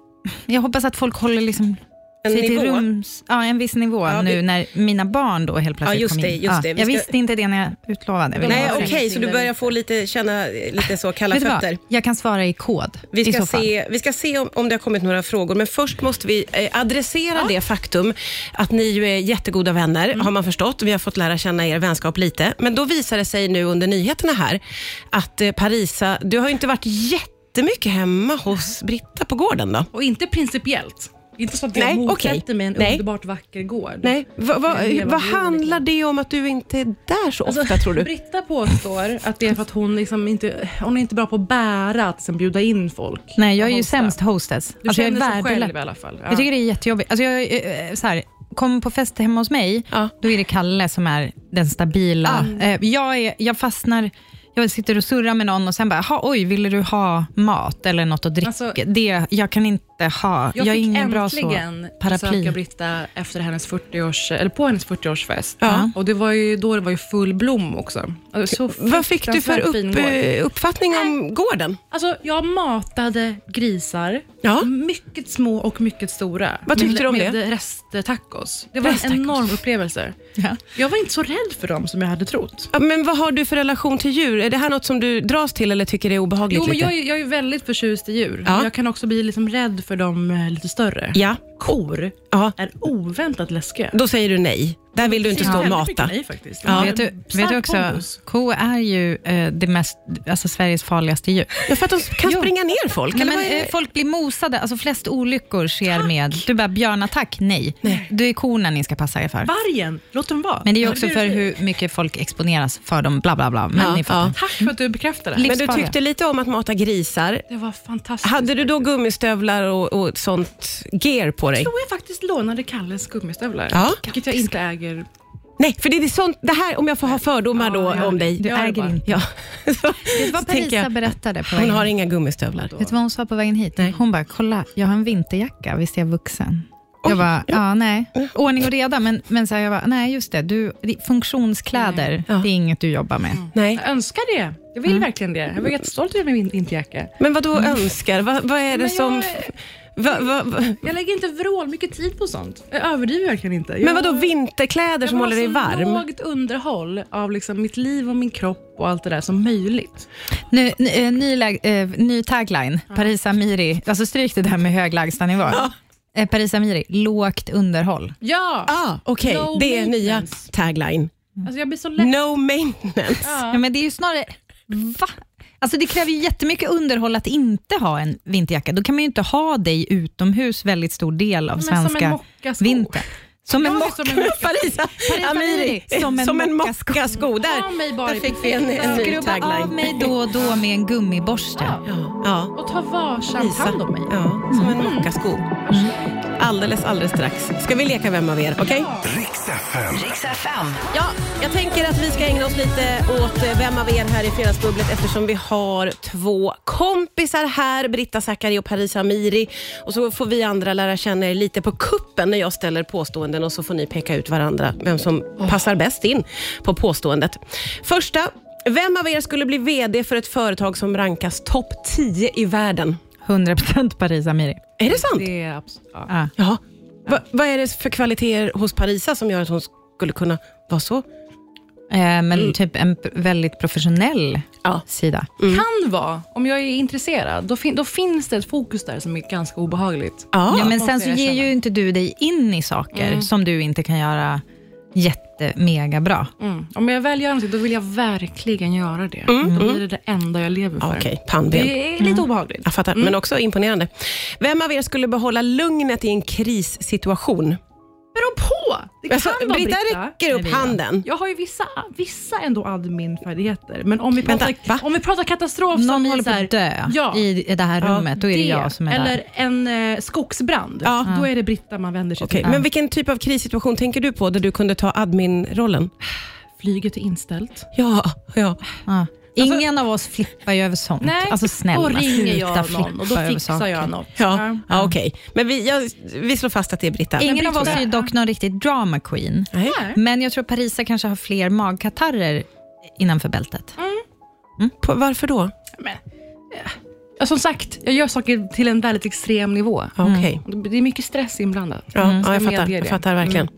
Speaker 4: jag hoppas att folk håller liksom
Speaker 2: En
Speaker 4: sig
Speaker 2: nivå.
Speaker 4: till rums, ja, en viss nivå
Speaker 2: Ja,
Speaker 4: nu
Speaker 2: vi-
Speaker 4: när mina barn då helt plötsligt
Speaker 2: Ja, just
Speaker 4: kom in.
Speaker 2: det, just det. Vi
Speaker 4: jag
Speaker 2: ska-
Speaker 4: visste inte det när jag utlovade. vill jag
Speaker 2: Nej,
Speaker 4: säga.
Speaker 2: okej, så du börjar få lite, känna eh, lite så kalla
Speaker 4: Vet du
Speaker 2: fötter.
Speaker 4: vad? Jag kan svara i kod
Speaker 2: Vi
Speaker 4: i
Speaker 2: ska,
Speaker 4: så fall.
Speaker 2: se, vi ska se om, om det har kommit några frågor, men först måste vi eh, adressera det faktum att ni ju är jättegoda vänner, har man förstått. Vi har fått lära känna er vänskap lite. Men då visar det sig nu under nyheterna här att eh, Parisa, du har ju inte varit jättemycket hemma hos Britta på gården då?
Speaker 3: Och inte principiellt. Inte så att
Speaker 2: Nej,
Speaker 3: jag
Speaker 2: okej.
Speaker 3: motsätter mig en
Speaker 2: Nej.
Speaker 3: underbart vacker gård.
Speaker 2: Nej, vad va,
Speaker 3: Det är en levande
Speaker 2: vad
Speaker 3: jord,
Speaker 2: handlar
Speaker 3: liksom.
Speaker 2: det om att du inte är där så ofta tror du?
Speaker 3: Alltså, Britta påstår att det är för att hon, liksom inte, hon är inte bra på att bära, att sen bjuda in folk.
Speaker 4: Nej, jag är ju
Speaker 3: Hosta.
Speaker 4: sämst hostess.
Speaker 3: Du
Speaker 4: Alltså, jag är
Speaker 3: känner så
Speaker 4: värdelös.
Speaker 3: själv i alla fall. Ja.
Speaker 4: Jag tycker det är jättejobbigt. Alltså, jag, eh, eh, så här, kom på fest hemma hos mig,
Speaker 2: Ja.
Speaker 4: då är det Kalle som är den stabila.
Speaker 3: Ah.
Speaker 4: Eh, Jag, är, jag fastnar, jag sitter och surrar med någon och sen bara, "Jaha, oj, ville du ha mat eller något att dricka?
Speaker 3: Alltså-
Speaker 4: det, jag kan inte ha, jag,
Speaker 3: jag
Speaker 4: är
Speaker 3: fick
Speaker 4: ingen bra så.
Speaker 3: äntligen
Speaker 4: Paraply.
Speaker 3: besöka Britta efter hennes 40-års, eller på hennes 40-årsfest.
Speaker 2: Ja.
Speaker 3: Och det var ju då det var ju full blom också. Alltså, Så
Speaker 2: Vad fick du för
Speaker 3: fruktansvärt
Speaker 2: upp,
Speaker 3: fin gård.
Speaker 2: eh, uppfattning om gården?
Speaker 3: Alltså, jag matade grisar,
Speaker 2: Ja.
Speaker 3: mycket små och mycket stora.
Speaker 2: Vad tyckte
Speaker 3: med,
Speaker 2: du om
Speaker 3: med
Speaker 2: det?
Speaker 3: resttacos. Det var en
Speaker 2: Resttacos.
Speaker 3: enorm upplevelse. Jag var inte så rädd för dem som jag hade trott.
Speaker 2: Ja, Men vad har du för relation till djur? Är det här något som du dras till eller tycker är obehagligt?
Speaker 3: Jo, men
Speaker 2: lite?
Speaker 3: jag, är- jag är väldigt förtjust i djur.
Speaker 2: Ja.
Speaker 3: Jag kan också bli liksom rädd för de eh, lite större.
Speaker 2: Ja.
Speaker 3: Kor
Speaker 2: Ja.
Speaker 3: är oväntat läskiga.
Speaker 2: Då säger du nej. Där vill du inte stå och
Speaker 3: Väldigt
Speaker 2: mata.
Speaker 3: mycket Nej, faktiskt.
Speaker 2: Ja.
Speaker 3: De har
Speaker 4: Vet du,
Speaker 3: en
Speaker 4: vet
Speaker 3: stark
Speaker 4: du också,
Speaker 3: pondus.
Speaker 4: ko är ju eh, det mest, alltså Sveriges farligaste djur.
Speaker 2: Ja, för att de kan
Speaker 4: Jo.
Speaker 2: springa ner folk.
Speaker 4: Nej,
Speaker 2: eller
Speaker 4: men,
Speaker 2: vad är det?
Speaker 4: eh, folk blir mosade, alltså flest olyckor sker med, du bara björnattack, nej. Det är korna ni ska passa er för.
Speaker 3: Vargen, låt dem vara.
Speaker 4: Men det är ju också
Speaker 3: Ja,
Speaker 4: för hur mycket folk exponeras för dem, bla bla bla. Men
Speaker 2: Ja,
Speaker 4: ni fattar.
Speaker 2: ja.
Speaker 3: Tack för att du bekräftade.
Speaker 4: Li-
Speaker 3: det.
Speaker 2: men du
Speaker 4: livsfarliga.
Speaker 2: tyckte lite om att mata grisar.
Speaker 3: Det var fantastiskt.
Speaker 2: Hade du då gummistövlar och, och sånt gear på dig?
Speaker 3: Jag tror jag faktiskt lånade Kalles gummistövlar.
Speaker 2: Ja.
Speaker 3: Vilket jag inte äger.
Speaker 2: Nej, för det är sånt, det här, om jag får ha fördomar då
Speaker 3: Ja, ja.
Speaker 2: om dig.
Speaker 4: Du
Speaker 3: Gör det
Speaker 4: äger
Speaker 3: bara.
Speaker 4: inte.
Speaker 2: Ja. Så,
Speaker 4: Vet du vad
Speaker 2: så tänker
Speaker 4: Parisa
Speaker 2: jag,
Speaker 4: berättade på
Speaker 2: hon
Speaker 4: vägen
Speaker 2: har
Speaker 4: hit?
Speaker 2: inga gummistövlar.
Speaker 4: Vet du vad hon sa på vägen hit? Hon bara, kolla, jag har en vinterjacka, visst är jag vuxen? Jag bara, ja, nej. Ordning och reda, men, men så här, jag bara, nej just det, du, funktionskläder,
Speaker 2: Ja. Mm.
Speaker 4: det är inget du jobbar med.
Speaker 2: Nej.
Speaker 3: Jag önskar det. Jag vill verkligen det. Jag var jättestolt över min vinterjacka.
Speaker 2: Men vad då önskar? Vad, vad är det
Speaker 3: Men
Speaker 2: som...
Speaker 3: jag-
Speaker 2: Va, va, va,
Speaker 3: Jag lägger inte vrål mycket tid på sånt. Jag överdriver verkligen inte. Jag,
Speaker 2: men vad då vinterkläder
Speaker 3: jag
Speaker 2: som
Speaker 3: vill
Speaker 2: håller dig
Speaker 3: ha så
Speaker 2: varm?
Speaker 3: lågt underhåll av liksom mitt liv och min kropp och allt det där som möjligt.
Speaker 4: Nu, ny, eh, ny, lag- eh, ny tagline, Paris Amiri, alltså stryk det där med hög lägstanivå. Eh, Paris Amiri, lågt underhåll.
Speaker 3: Ja!
Speaker 2: Ah, Okej,
Speaker 3: No
Speaker 2: det är nya
Speaker 3: maintenance.
Speaker 2: tagline.
Speaker 3: Alltså jag blir så less.
Speaker 2: No maintenance.
Speaker 4: Ja. men det är ju snarare, va? Alltså det kräver ju jättemycket underhåll att inte ha en vinterjacka. Då kan man ju inte ha dig utomhus väldigt stor del av
Speaker 3: Men som en
Speaker 4: svenska
Speaker 3: mockasko.
Speaker 4: vintern. Som en
Speaker 3: Jag är
Speaker 4: mock.
Speaker 3: som en mocka.
Speaker 2: Parisa Amiri, som en, som en
Speaker 4: mockasko.
Speaker 2: mockasko.
Speaker 3: Ta
Speaker 2: Där,
Speaker 3: mig bara
Speaker 2: där
Speaker 3: i
Speaker 2: fick vi en, en ny
Speaker 4: Skrubba av
Speaker 2: tagline.
Speaker 4: mig då och då med en gummiborste.
Speaker 2: Ja,
Speaker 3: Och ta varsamt
Speaker 2: Parisa.
Speaker 3: hand om mig.
Speaker 2: Ja, som en mockasko. Alldeles, alldeles strax. Ska vi leka Vem av er? Okej?
Speaker 1: Riks FM.
Speaker 5: Riks FM.
Speaker 2: Ja, jag tänker att vi ska ägna oss lite åt eh, vem av er här i Fredagsbubblet eftersom vi har två kompisar här, Britta Zackari och Paris Amiri. Och så får vi andra lära känna er lite på kuppen när jag ställer påståenden och så får ni peka ut varandra, vem som passar bäst in på påståendet. Första, vem av er skulle bli VD för ett företag som rankas topp 10 i världen?
Speaker 4: 100% Paris Amiri.
Speaker 2: Är det sant?
Speaker 3: Det är absolut... Ja.
Speaker 4: Ja.
Speaker 2: Ja. Va, vad är det för kvaliteter hos Parisa som gör att hon skulle kunna vara så?
Speaker 4: Eh, men
Speaker 3: Mm.
Speaker 4: typ en p- väldigt professionell
Speaker 2: Ja.
Speaker 4: sida.
Speaker 3: Kan vara, om jag är intresserad, då, fin- då finns det ett fokus där som är ganska obehagligt.
Speaker 4: Ja, men
Speaker 3: måste
Speaker 4: sen så
Speaker 3: jag Mm.
Speaker 4: ger
Speaker 3: erkänna.
Speaker 4: ju inte du dig in i saker som du inte kan göra jättemega bra.
Speaker 3: Mm. Om jag väl gör någonting, då vill jag verkligen göra det.
Speaker 4: Mm.
Speaker 3: Då blir det det enda jag lever för.
Speaker 2: Okej, pannben.
Speaker 3: Det är lite obehagligt.
Speaker 2: Jag fattar, men också imponerande. Vem av er skulle behålla lugnet i en krissituation?
Speaker 3: Beror på! Det kan
Speaker 2: Alltså,
Speaker 3: vara
Speaker 2: Britta
Speaker 3: Britta.
Speaker 2: räcker upp
Speaker 4: Nej, det är jag.
Speaker 2: handen.
Speaker 3: Jag har ju vissa, vissa ändå adminfärdigheter, men om vi pratar,
Speaker 2: Vänta, va?
Speaker 3: om vi pratar katastrof
Speaker 4: Någon
Speaker 3: som i
Speaker 4: håller på
Speaker 3: så här-
Speaker 4: att dö
Speaker 3: Ja,
Speaker 4: i det här rummet, då är det, jag som är
Speaker 3: eller
Speaker 4: där.
Speaker 3: en eh, skogsbrand,
Speaker 2: Ja.
Speaker 3: då är det Britta man vänder sig
Speaker 2: Okej,
Speaker 3: till.
Speaker 2: men vilken typ av krissituation tänker du på där du kunde ta admin-rollen?
Speaker 3: Flyget är inställt.
Speaker 2: Ja, ja.
Speaker 4: Ja. Ingen av oss flippar ju över sånt. Alltså snälla,
Speaker 3: då Alltså- ringer
Speaker 4: sluta
Speaker 3: jag någon
Speaker 4: flippa
Speaker 3: och då
Speaker 4: över
Speaker 3: fixar
Speaker 4: saker.
Speaker 3: jag något.
Speaker 2: ja. ja Okej, men vi, jag, vi slår fast att det är Britta.
Speaker 4: Ingen av
Speaker 3: Britt,
Speaker 4: oss är ju
Speaker 3: tror jag.
Speaker 4: dock någon riktig drama queen.
Speaker 2: Nej.
Speaker 4: Men jag tror Parisa kanske har fler magkatarrer innanför bältet.
Speaker 2: På, varför då?
Speaker 3: Men, eh, ja, som sagt, jag gör saker till en väldigt extrem nivå.
Speaker 2: Ja, Okej.
Speaker 3: Det är mycket stress inblandat.
Speaker 2: Ja,
Speaker 4: Mm.
Speaker 2: ja, jag,
Speaker 3: Jag
Speaker 2: fattar,
Speaker 3: medger
Speaker 2: jag
Speaker 3: Mm, det.
Speaker 2: fattar verkligen.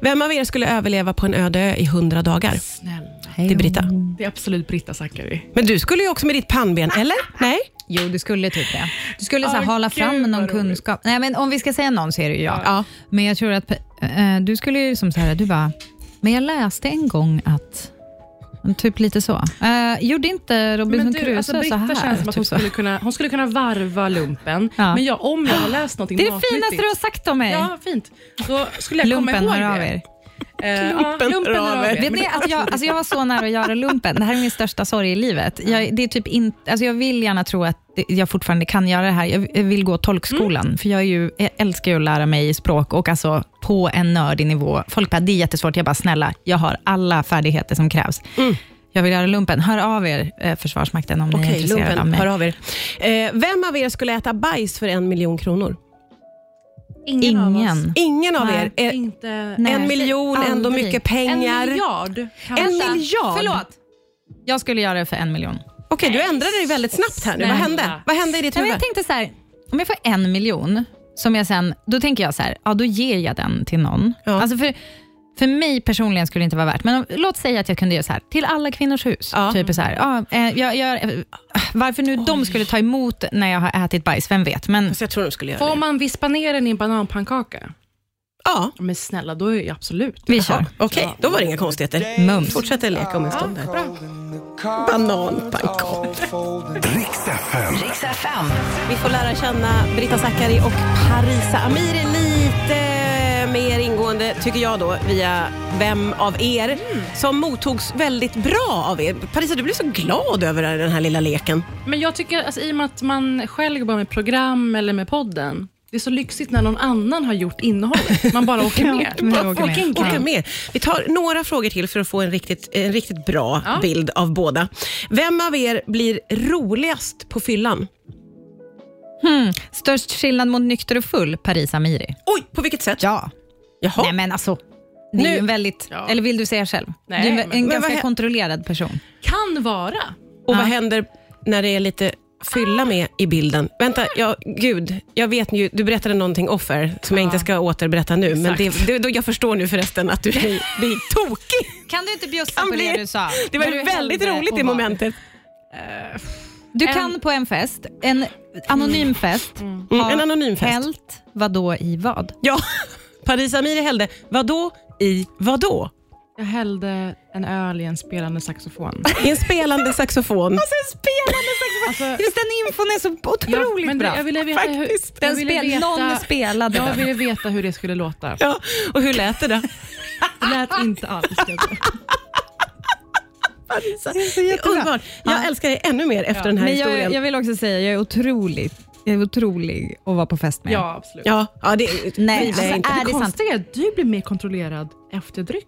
Speaker 2: Vem av er skulle överleva på en öde ö i hundra dagar?
Speaker 3: Snälla.
Speaker 2: Det är Britta.
Speaker 3: Det är absolut Britta Zackari.
Speaker 2: Men du skulle ju också med ditt pannben, eller? Nej?
Speaker 4: Jo, du skulle typ det. Du skulle så här,
Speaker 3: Åh,
Speaker 4: hala
Speaker 3: gud,
Speaker 4: fram
Speaker 3: vad
Speaker 4: någon
Speaker 3: roligt.
Speaker 4: kunskap. Nej, men om vi ska säga någon så är det ju jag.
Speaker 2: Ja.
Speaker 4: Men jag tror att eh, du skulle ju som så här, du bara, men jag läste en gång att, typ lite så. Eh, gjorde inte Robinson Crusoe
Speaker 3: alltså,
Speaker 4: så
Speaker 3: Britta
Speaker 4: här?
Speaker 3: känns som att hon,
Speaker 4: typ så.
Speaker 3: skulle kunna, hon skulle kunna varva lumpen,
Speaker 4: Ja. Ah,
Speaker 3: men jag, om jag har läst någonting
Speaker 4: Det är det
Speaker 3: matnyttigt-
Speaker 4: finaste du har sagt om mig.
Speaker 3: Ja, fint. Då skulle jag
Speaker 4: lumpen,
Speaker 3: komma
Speaker 4: hör
Speaker 3: ihåg
Speaker 4: av
Speaker 3: det.
Speaker 4: er.
Speaker 3: Eh, ja, lumpen, hör av er.
Speaker 4: Vet ni att jag, alltså jag var så nära att göra lumpen. Det här är min största sorg i livet. Jag, det är typ in, alltså jag vill gärna tro att det- jag fortfarande kan göra det här. Jag jag vill gå tolkskolan,
Speaker 2: Mm.
Speaker 4: för jag, är ju, jag älskar ju att lära mig språk och alltså på en nördig nivå. Folk bara, det är jättesvårt. Jag bara, snälla, jag har alla färdigheter som krävs.
Speaker 2: Mm.
Speaker 4: Jag vill göra lumpen. Hör av er, eh, Försvarsmakten, om ni är
Speaker 2: Okej,
Speaker 4: intresserade av
Speaker 2: lumpen,
Speaker 4: mig.
Speaker 2: hör av er. Eh, vem av er skulle äta bajs för en miljon kronor?
Speaker 3: Ingen, av oss.
Speaker 4: Ingen.
Speaker 2: Ingen av
Speaker 4: Nej,
Speaker 2: er. Eh,
Speaker 3: Inte...
Speaker 4: Nej.
Speaker 2: en miljon, ändå
Speaker 4: Aldrig.
Speaker 2: mycket pengar.
Speaker 3: En miljard. kanske.
Speaker 2: En miljard?
Speaker 4: Förlåt. Jag skulle göra det för en miljon.
Speaker 2: Okej, du ändrade dig väldigt snabbt här nu. Vad
Speaker 3: Snälla.
Speaker 2: hände? Vad hände i ditt
Speaker 4: Nej, men
Speaker 2: huvud?
Speaker 4: jag tänkte så här, om jag får en miljon, som jag sen, då tänker jag så här, ja, då ger jag den till någon.
Speaker 2: Ja.
Speaker 4: Alltså för, för mig personligen skulle det inte vara värt, men om, låt säga att jag kunde göra så här, till alla kvinnors hus.
Speaker 2: Ja.
Speaker 4: Typ så här, ja, eh, jag, jag, eh, varför nu de skulle ta emot när jag har ätit bajs, vem vet. Men
Speaker 2: Fast jag tror de skulle göra
Speaker 3: Får
Speaker 2: det.
Speaker 3: man vispa ner den i en bananpannkaka?
Speaker 2: Ja,
Speaker 3: Men snälla, då är jag absolut.
Speaker 4: vi kör.
Speaker 2: okej. Då var det inga konstigheter.
Speaker 4: Mums.
Speaker 2: Fortsätter leka om en stund. här. Bananpannkaka.
Speaker 1: Riks FM.
Speaker 5: Riks FM.
Speaker 2: Vi får lära känna Britta Zackari och Parisa Amiri lite mer ingående, tycker jag då, via vem av er som mottogs väldigt bra av er. Parisa, du blev så glad över den här lilla leken.
Speaker 3: Men jag tycker, alltså, i och med att man själv jobbar med program eller med podden, det är så lyxigt när någon annan har gjort innehållet. Man bara åker med.
Speaker 4: man Mm, åker med.
Speaker 3: Vilken
Speaker 2: Åka
Speaker 3: grej.
Speaker 2: med. Vi tar några frågor till för att få en riktigt, en riktigt bra
Speaker 3: Ja.
Speaker 2: bild av båda. Vem av er blir roligast på fyllan?
Speaker 4: Hmm. Störst skillnad mot nykter och full, Paris Amiri.
Speaker 2: Oj, på vilket sätt?
Speaker 4: Ja.
Speaker 2: Jaha.
Speaker 4: Nej men alltså, det är
Speaker 2: Nu-
Speaker 4: ju en väldigt,
Speaker 3: Ja.
Speaker 4: eller vill du säga själv?
Speaker 3: Nej,
Speaker 4: du är en,
Speaker 3: men-
Speaker 4: en
Speaker 3: men
Speaker 4: ganska
Speaker 2: vad hä-
Speaker 4: kontrollerad person.
Speaker 3: Kan vara.
Speaker 2: Och vad händer när det är lite fylla med i bilden? Vänta, ja, gud, jag vet ju, du berättade någonting offer som jag inte ska återberätta nu, men det,
Speaker 3: Exakt.
Speaker 2: det, då- jag förstår nu förresten att du blir, blir tokig.
Speaker 4: Kan du inte bjussa
Speaker 2: Kan
Speaker 4: på
Speaker 2: bli-
Speaker 4: det du sa?
Speaker 2: Det var
Speaker 4: Vad du
Speaker 2: väldigt
Speaker 4: hällde
Speaker 2: roligt
Speaker 4: på
Speaker 2: i
Speaker 4: vad?
Speaker 2: momentet.
Speaker 4: Du
Speaker 3: En-
Speaker 4: kan på en fest, en anonym fest,
Speaker 2: Mm,
Speaker 4: ha
Speaker 2: en anonym fest.
Speaker 4: hällt vadå i vad?
Speaker 2: Ja, Paris Amiri hällde vadå i vadå?
Speaker 3: Jag hällde en öl i en spelande saxofon.
Speaker 2: I en spelande saxofon.
Speaker 4: Den spelande saxofon.
Speaker 3: Alltså,
Speaker 4: Just den infon är så otroligt
Speaker 3: ja, men
Speaker 4: bra.
Speaker 3: det, jag ville veta hur,
Speaker 2: Faktiskt.
Speaker 3: jag
Speaker 4: den
Speaker 3: ville
Speaker 4: spel,
Speaker 3: veta,
Speaker 4: någon spelade
Speaker 3: Jag
Speaker 4: den.
Speaker 3: ville veta hur det skulle låta.
Speaker 2: Ja, och hur lät det då?
Speaker 3: Det lät inte alls. ska jag säga.
Speaker 2: Parisa.
Speaker 4: så
Speaker 2: Det är
Speaker 4: jättebra.
Speaker 2: underbart. Jag
Speaker 4: Ja.
Speaker 2: älskar dig ännu mer efter
Speaker 3: Ja.
Speaker 2: den här
Speaker 4: Men
Speaker 2: historien.
Speaker 4: jag, jag vill också säga, jag är otrolig, jag är otrolig att vara på fest med.
Speaker 3: Ja, absolut.
Speaker 2: Ja, ja, det
Speaker 4: Nej,
Speaker 2: det är
Speaker 4: alltså,
Speaker 2: inte.
Speaker 4: är
Speaker 3: Det
Speaker 4: det sant?
Speaker 3: konstiga är att du blir mer kontrollerad efter dryck.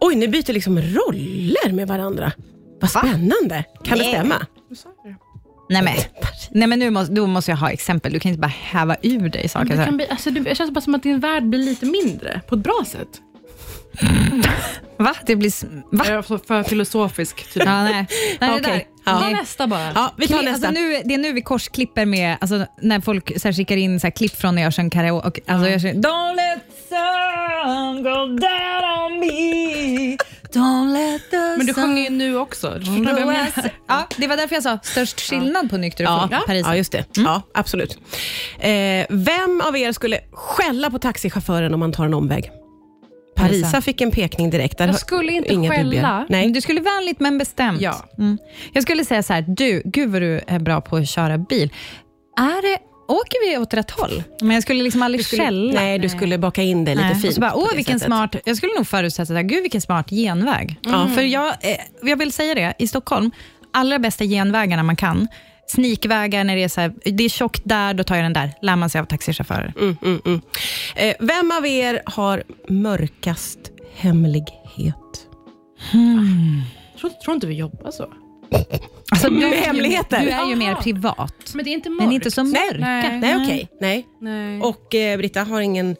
Speaker 2: Oj, ni byter liksom roller med varandra. Vad spännande. Kan det
Speaker 4: Nej.
Speaker 2: stämma?
Speaker 3: Du sa det.
Speaker 4: Nej men, nej, men nu måste, då måste jag ha exempel. Du kan inte bara häva ur dig saker.
Speaker 3: Men
Speaker 4: så
Speaker 3: det,
Speaker 4: här.
Speaker 3: kan bli, alltså, det det känns bara som att din värld blir lite mindre på ett bra sätt.
Speaker 4: Va? Det blir... s- Va?
Speaker 3: Jag är alltså, för, för filosofisk typ.
Speaker 4: Ja, nej. nej det där.
Speaker 2: Okej. Ja.
Speaker 3: Ta
Speaker 4: Det-
Speaker 3: nästa bara.
Speaker 2: Ja, vi tar
Speaker 4: Kli-
Speaker 2: nästa.
Speaker 4: Alltså nu, det är nu vi korsklipper med, alltså, när folk så här, skickar in så här, klipp från när jag sjöng karaoke. Och, alltså, jag sjöng, Don't let the sun go down on me Don't let the
Speaker 3: Men du
Speaker 4: sun
Speaker 3: sjunger ju nu också. Du förstår vad jag
Speaker 4: go
Speaker 3: menar?
Speaker 4: as- Ja, det var därför jag sa störst skillnad på nykter och
Speaker 2: Ja,
Speaker 4: full. Paris. Mm.
Speaker 2: ja, just det. Ja, absolut. Eh, vem av er skulle skälla på taxichauffören om man tar en omväg?
Speaker 4: Parisa.
Speaker 2: Parisa fick en pekning direkt. Där
Speaker 3: Jag
Speaker 2: har-
Speaker 3: skulle inte
Speaker 2: inga
Speaker 3: skälla.
Speaker 2: dubier. Nej.
Speaker 4: Men Du skulle vänligt men bestämt.
Speaker 3: Ja.
Speaker 4: Mm. Jag skulle säga så här, du, gud vad du är bra på att köra bil. Är det, åker vi åt rätt håll? Men jag skulle liksom aldrig
Speaker 2: Du skulle,
Speaker 4: skälla.
Speaker 2: nej, du skulle baka in det lite
Speaker 4: Nej.
Speaker 2: fint.
Speaker 4: Och så bara,
Speaker 2: på
Speaker 4: åh
Speaker 2: det
Speaker 4: vilken
Speaker 2: sättet." Mm.
Speaker 4: smart, jag skulle nog förutsätta det här, gud vilken smart genväg. För jag, eh, jag vill säga det, i Stockholm, allra bästa genvägarna man kan, snikvägar när det är så här, det är tjockt där, då tar jag den där, lär man sig av taxichaufförer.
Speaker 2: Mm, mm, mm. Eh, vem av er har mörkast hemlighet?
Speaker 3: Tror, tror inte vi jobbar så.
Speaker 4: Alltså, du,
Speaker 2: Med hemligheter?
Speaker 4: du är ju mer
Speaker 3: Jaha.
Speaker 4: privat.
Speaker 3: Men det är inte mörkt.
Speaker 4: Den är inte så mörk.
Speaker 3: Nej.
Speaker 2: Nej, okej. Nej.
Speaker 3: Nej.
Speaker 2: Och eh, Britta har ingen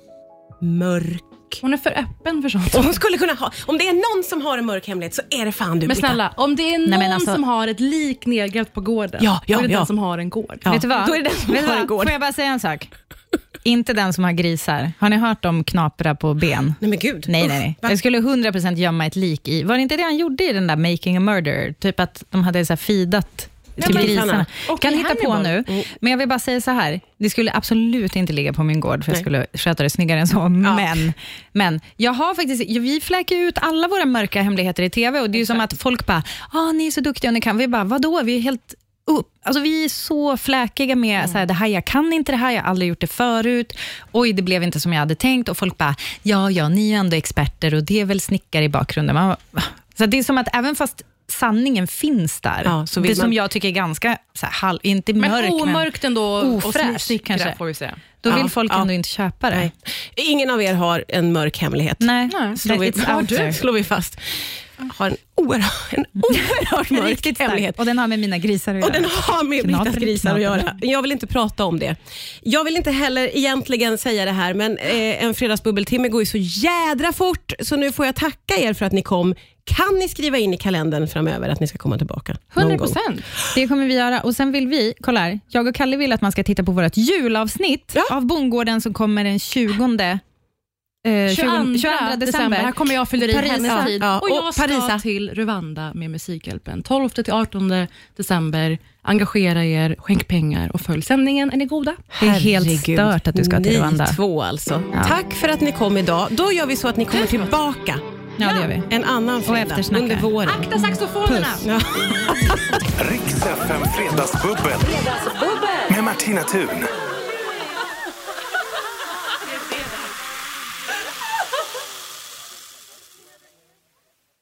Speaker 2: mörk...
Speaker 3: Hon är för öppen för sånt.
Speaker 2: Hon skulle kunna ha... Om det är någon som har en mörk hemlighet så är det fan du,
Speaker 3: Men
Speaker 2: Britta.
Speaker 3: snälla, om det är någon
Speaker 4: men alltså-
Speaker 3: som har ett lik nedgrävt på gården,
Speaker 2: Ja, ja,
Speaker 3: då är det
Speaker 2: ja.
Speaker 3: den som har en gård.
Speaker 2: Ja.
Speaker 4: Vet du vad?
Speaker 2: Då är det den som
Speaker 4: Vet du
Speaker 2: har
Speaker 4: vad?
Speaker 2: en gård.
Speaker 4: Får jag bara säga en sak? Inte den som har grisar. Har ni hört om knapra på ben?
Speaker 2: Nej men gud.
Speaker 4: Nej,
Speaker 2: Usch,
Speaker 4: nej, nej.
Speaker 2: va?
Speaker 4: Jag skulle 100% gömma ett lik i... Var det inte det han gjorde i den där Making a Murder? Typ att de hade så här feedat till
Speaker 2: men-
Speaker 4: grisarna.
Speaker 3: Och
Speaker 4: kan
Speaker 3: i
Speaker 4: hitta på
Speaker 3: Hannibal.
Speaker 4: nu,
Speaker 2: Mm.
Speaker 4: men jag vill bara säga så här. Det skulle absolut inte ligga på min gård, för jag
Speaker 2: Nej.
Speaker 4: skulle sköta det snyggare än så. Men, men jag har faktiskt, vi fläker ju ut alla våra mörka hemligheter i TV och det är ju som att folk bara, ah, ni är så duktiga och ni kan. Vi bara, vadå? Vi är helt upp. Alltså, vi är så fläkiga med
Speaker 2: Mm.
Speaker 4: så här, det här, jag kan inte det här, jag har aldrig gjort det förut. Oj, det blev inte som jag hade tänkt. Och folk bara, ja, ja, ni är ändå experter och det är väl snickare i bakgrunden. Man, bara, "Va?" så det är som att även fast sanningen finns där,
Speaker 2: Ja, så vill
Speaker 4: det som
Speaker 2: man-
Speaker 4: jag tycker är ganska, så här, halv, inte mörk,
Speaker 3: Men omörkt ändå.
Speaker 4: Ofräsch,
Speaker 3: och snickra,
Speaker 4: kanske.
Speaker 3: får vi säga.
Speaker 4: då
Speaker 2: Ja,
Speaker 4: vill folk
Speaker 2: ja.
Speaker 4: ändå inte köpa det.
Speaker 2: Nej. Ingen av er har en mörk hemlighet.
Speaker 4: Nej,
Speaker 3: Nej.
Speaker 2: Slår vi,
Speaker 4: it's out there.
Speaker 2: slår vi fast. Har en oerhört, en oerhört
Speaker 4: Den är
Speaker 2: mörk
Speaker 4: Riktigt
Speaker 2: hemlighet.
Speaker 4: stark. Och den har med mina grisar att
Speaker 2: Och
Speaker 4: göra.
Speaker 2: den har med
Speaker 4: Knaper,
Speaker 2: Brittas grisar att
Speaker 4: knaper.
Speaker 2: göra. Jag vill inte prata om det. Jag vill inte heller egentligen säga det här, men eh, en fredagsbubbeltimme går ju så jädra fort, så nu får jag tacka er för att ni kom. Kan ni skriva in i kalendern framöver att ni ska komma tillbaka? någon
Speaker 3: 100
Speaker 2: gång?
Speaker 3: procent.
Speaker 4: Det kommer vi göra. Och Sen vill vi, kolla här, jag och Kalle vill att man ska titta på vårt julavsnitt
Speaker 2: Ja.
Speaker 4: av Bondgården som kommer den 20, eh,
Speaker 2: Eh,
Speaker 3: 22,
Speaker 4: 22
Speaker 3: december. Här kommer jag fylla i
Speaker 4: Parisa.
Speaker 3: hennes tid.
Speaker 2: Ja,
Speaker 3: och jag
Speaker 2: och
Speaker 3: ska
Speaker 2: Parisa.
Speaker 3: till Rwanda med Musikhjälpen. 12 till 18 december. Engagera er, skänk pengar och följ sändningen. Är ni goda?
Speaker 4: Det är helt stört att du ska till
Speaker 2: ni
Speaker 4: Rwanda.
Speaker 2: två alltså.
Speaker 4: Ja.
Speaker 2: Tack för att ni kom idag. Då gör vi så att ni kommer tillbaka
Speaker 4: Ja, det gör vi.
Speaker 2: en annan fredag
Speaker 4: eftersnackar.
Speaker 2: under våren.
Speaker 3: Akta saxofonerna!
Speaker 2: Ja.
Speaker 1: Riks FM Fredagsbubbel. Med Martina Thun.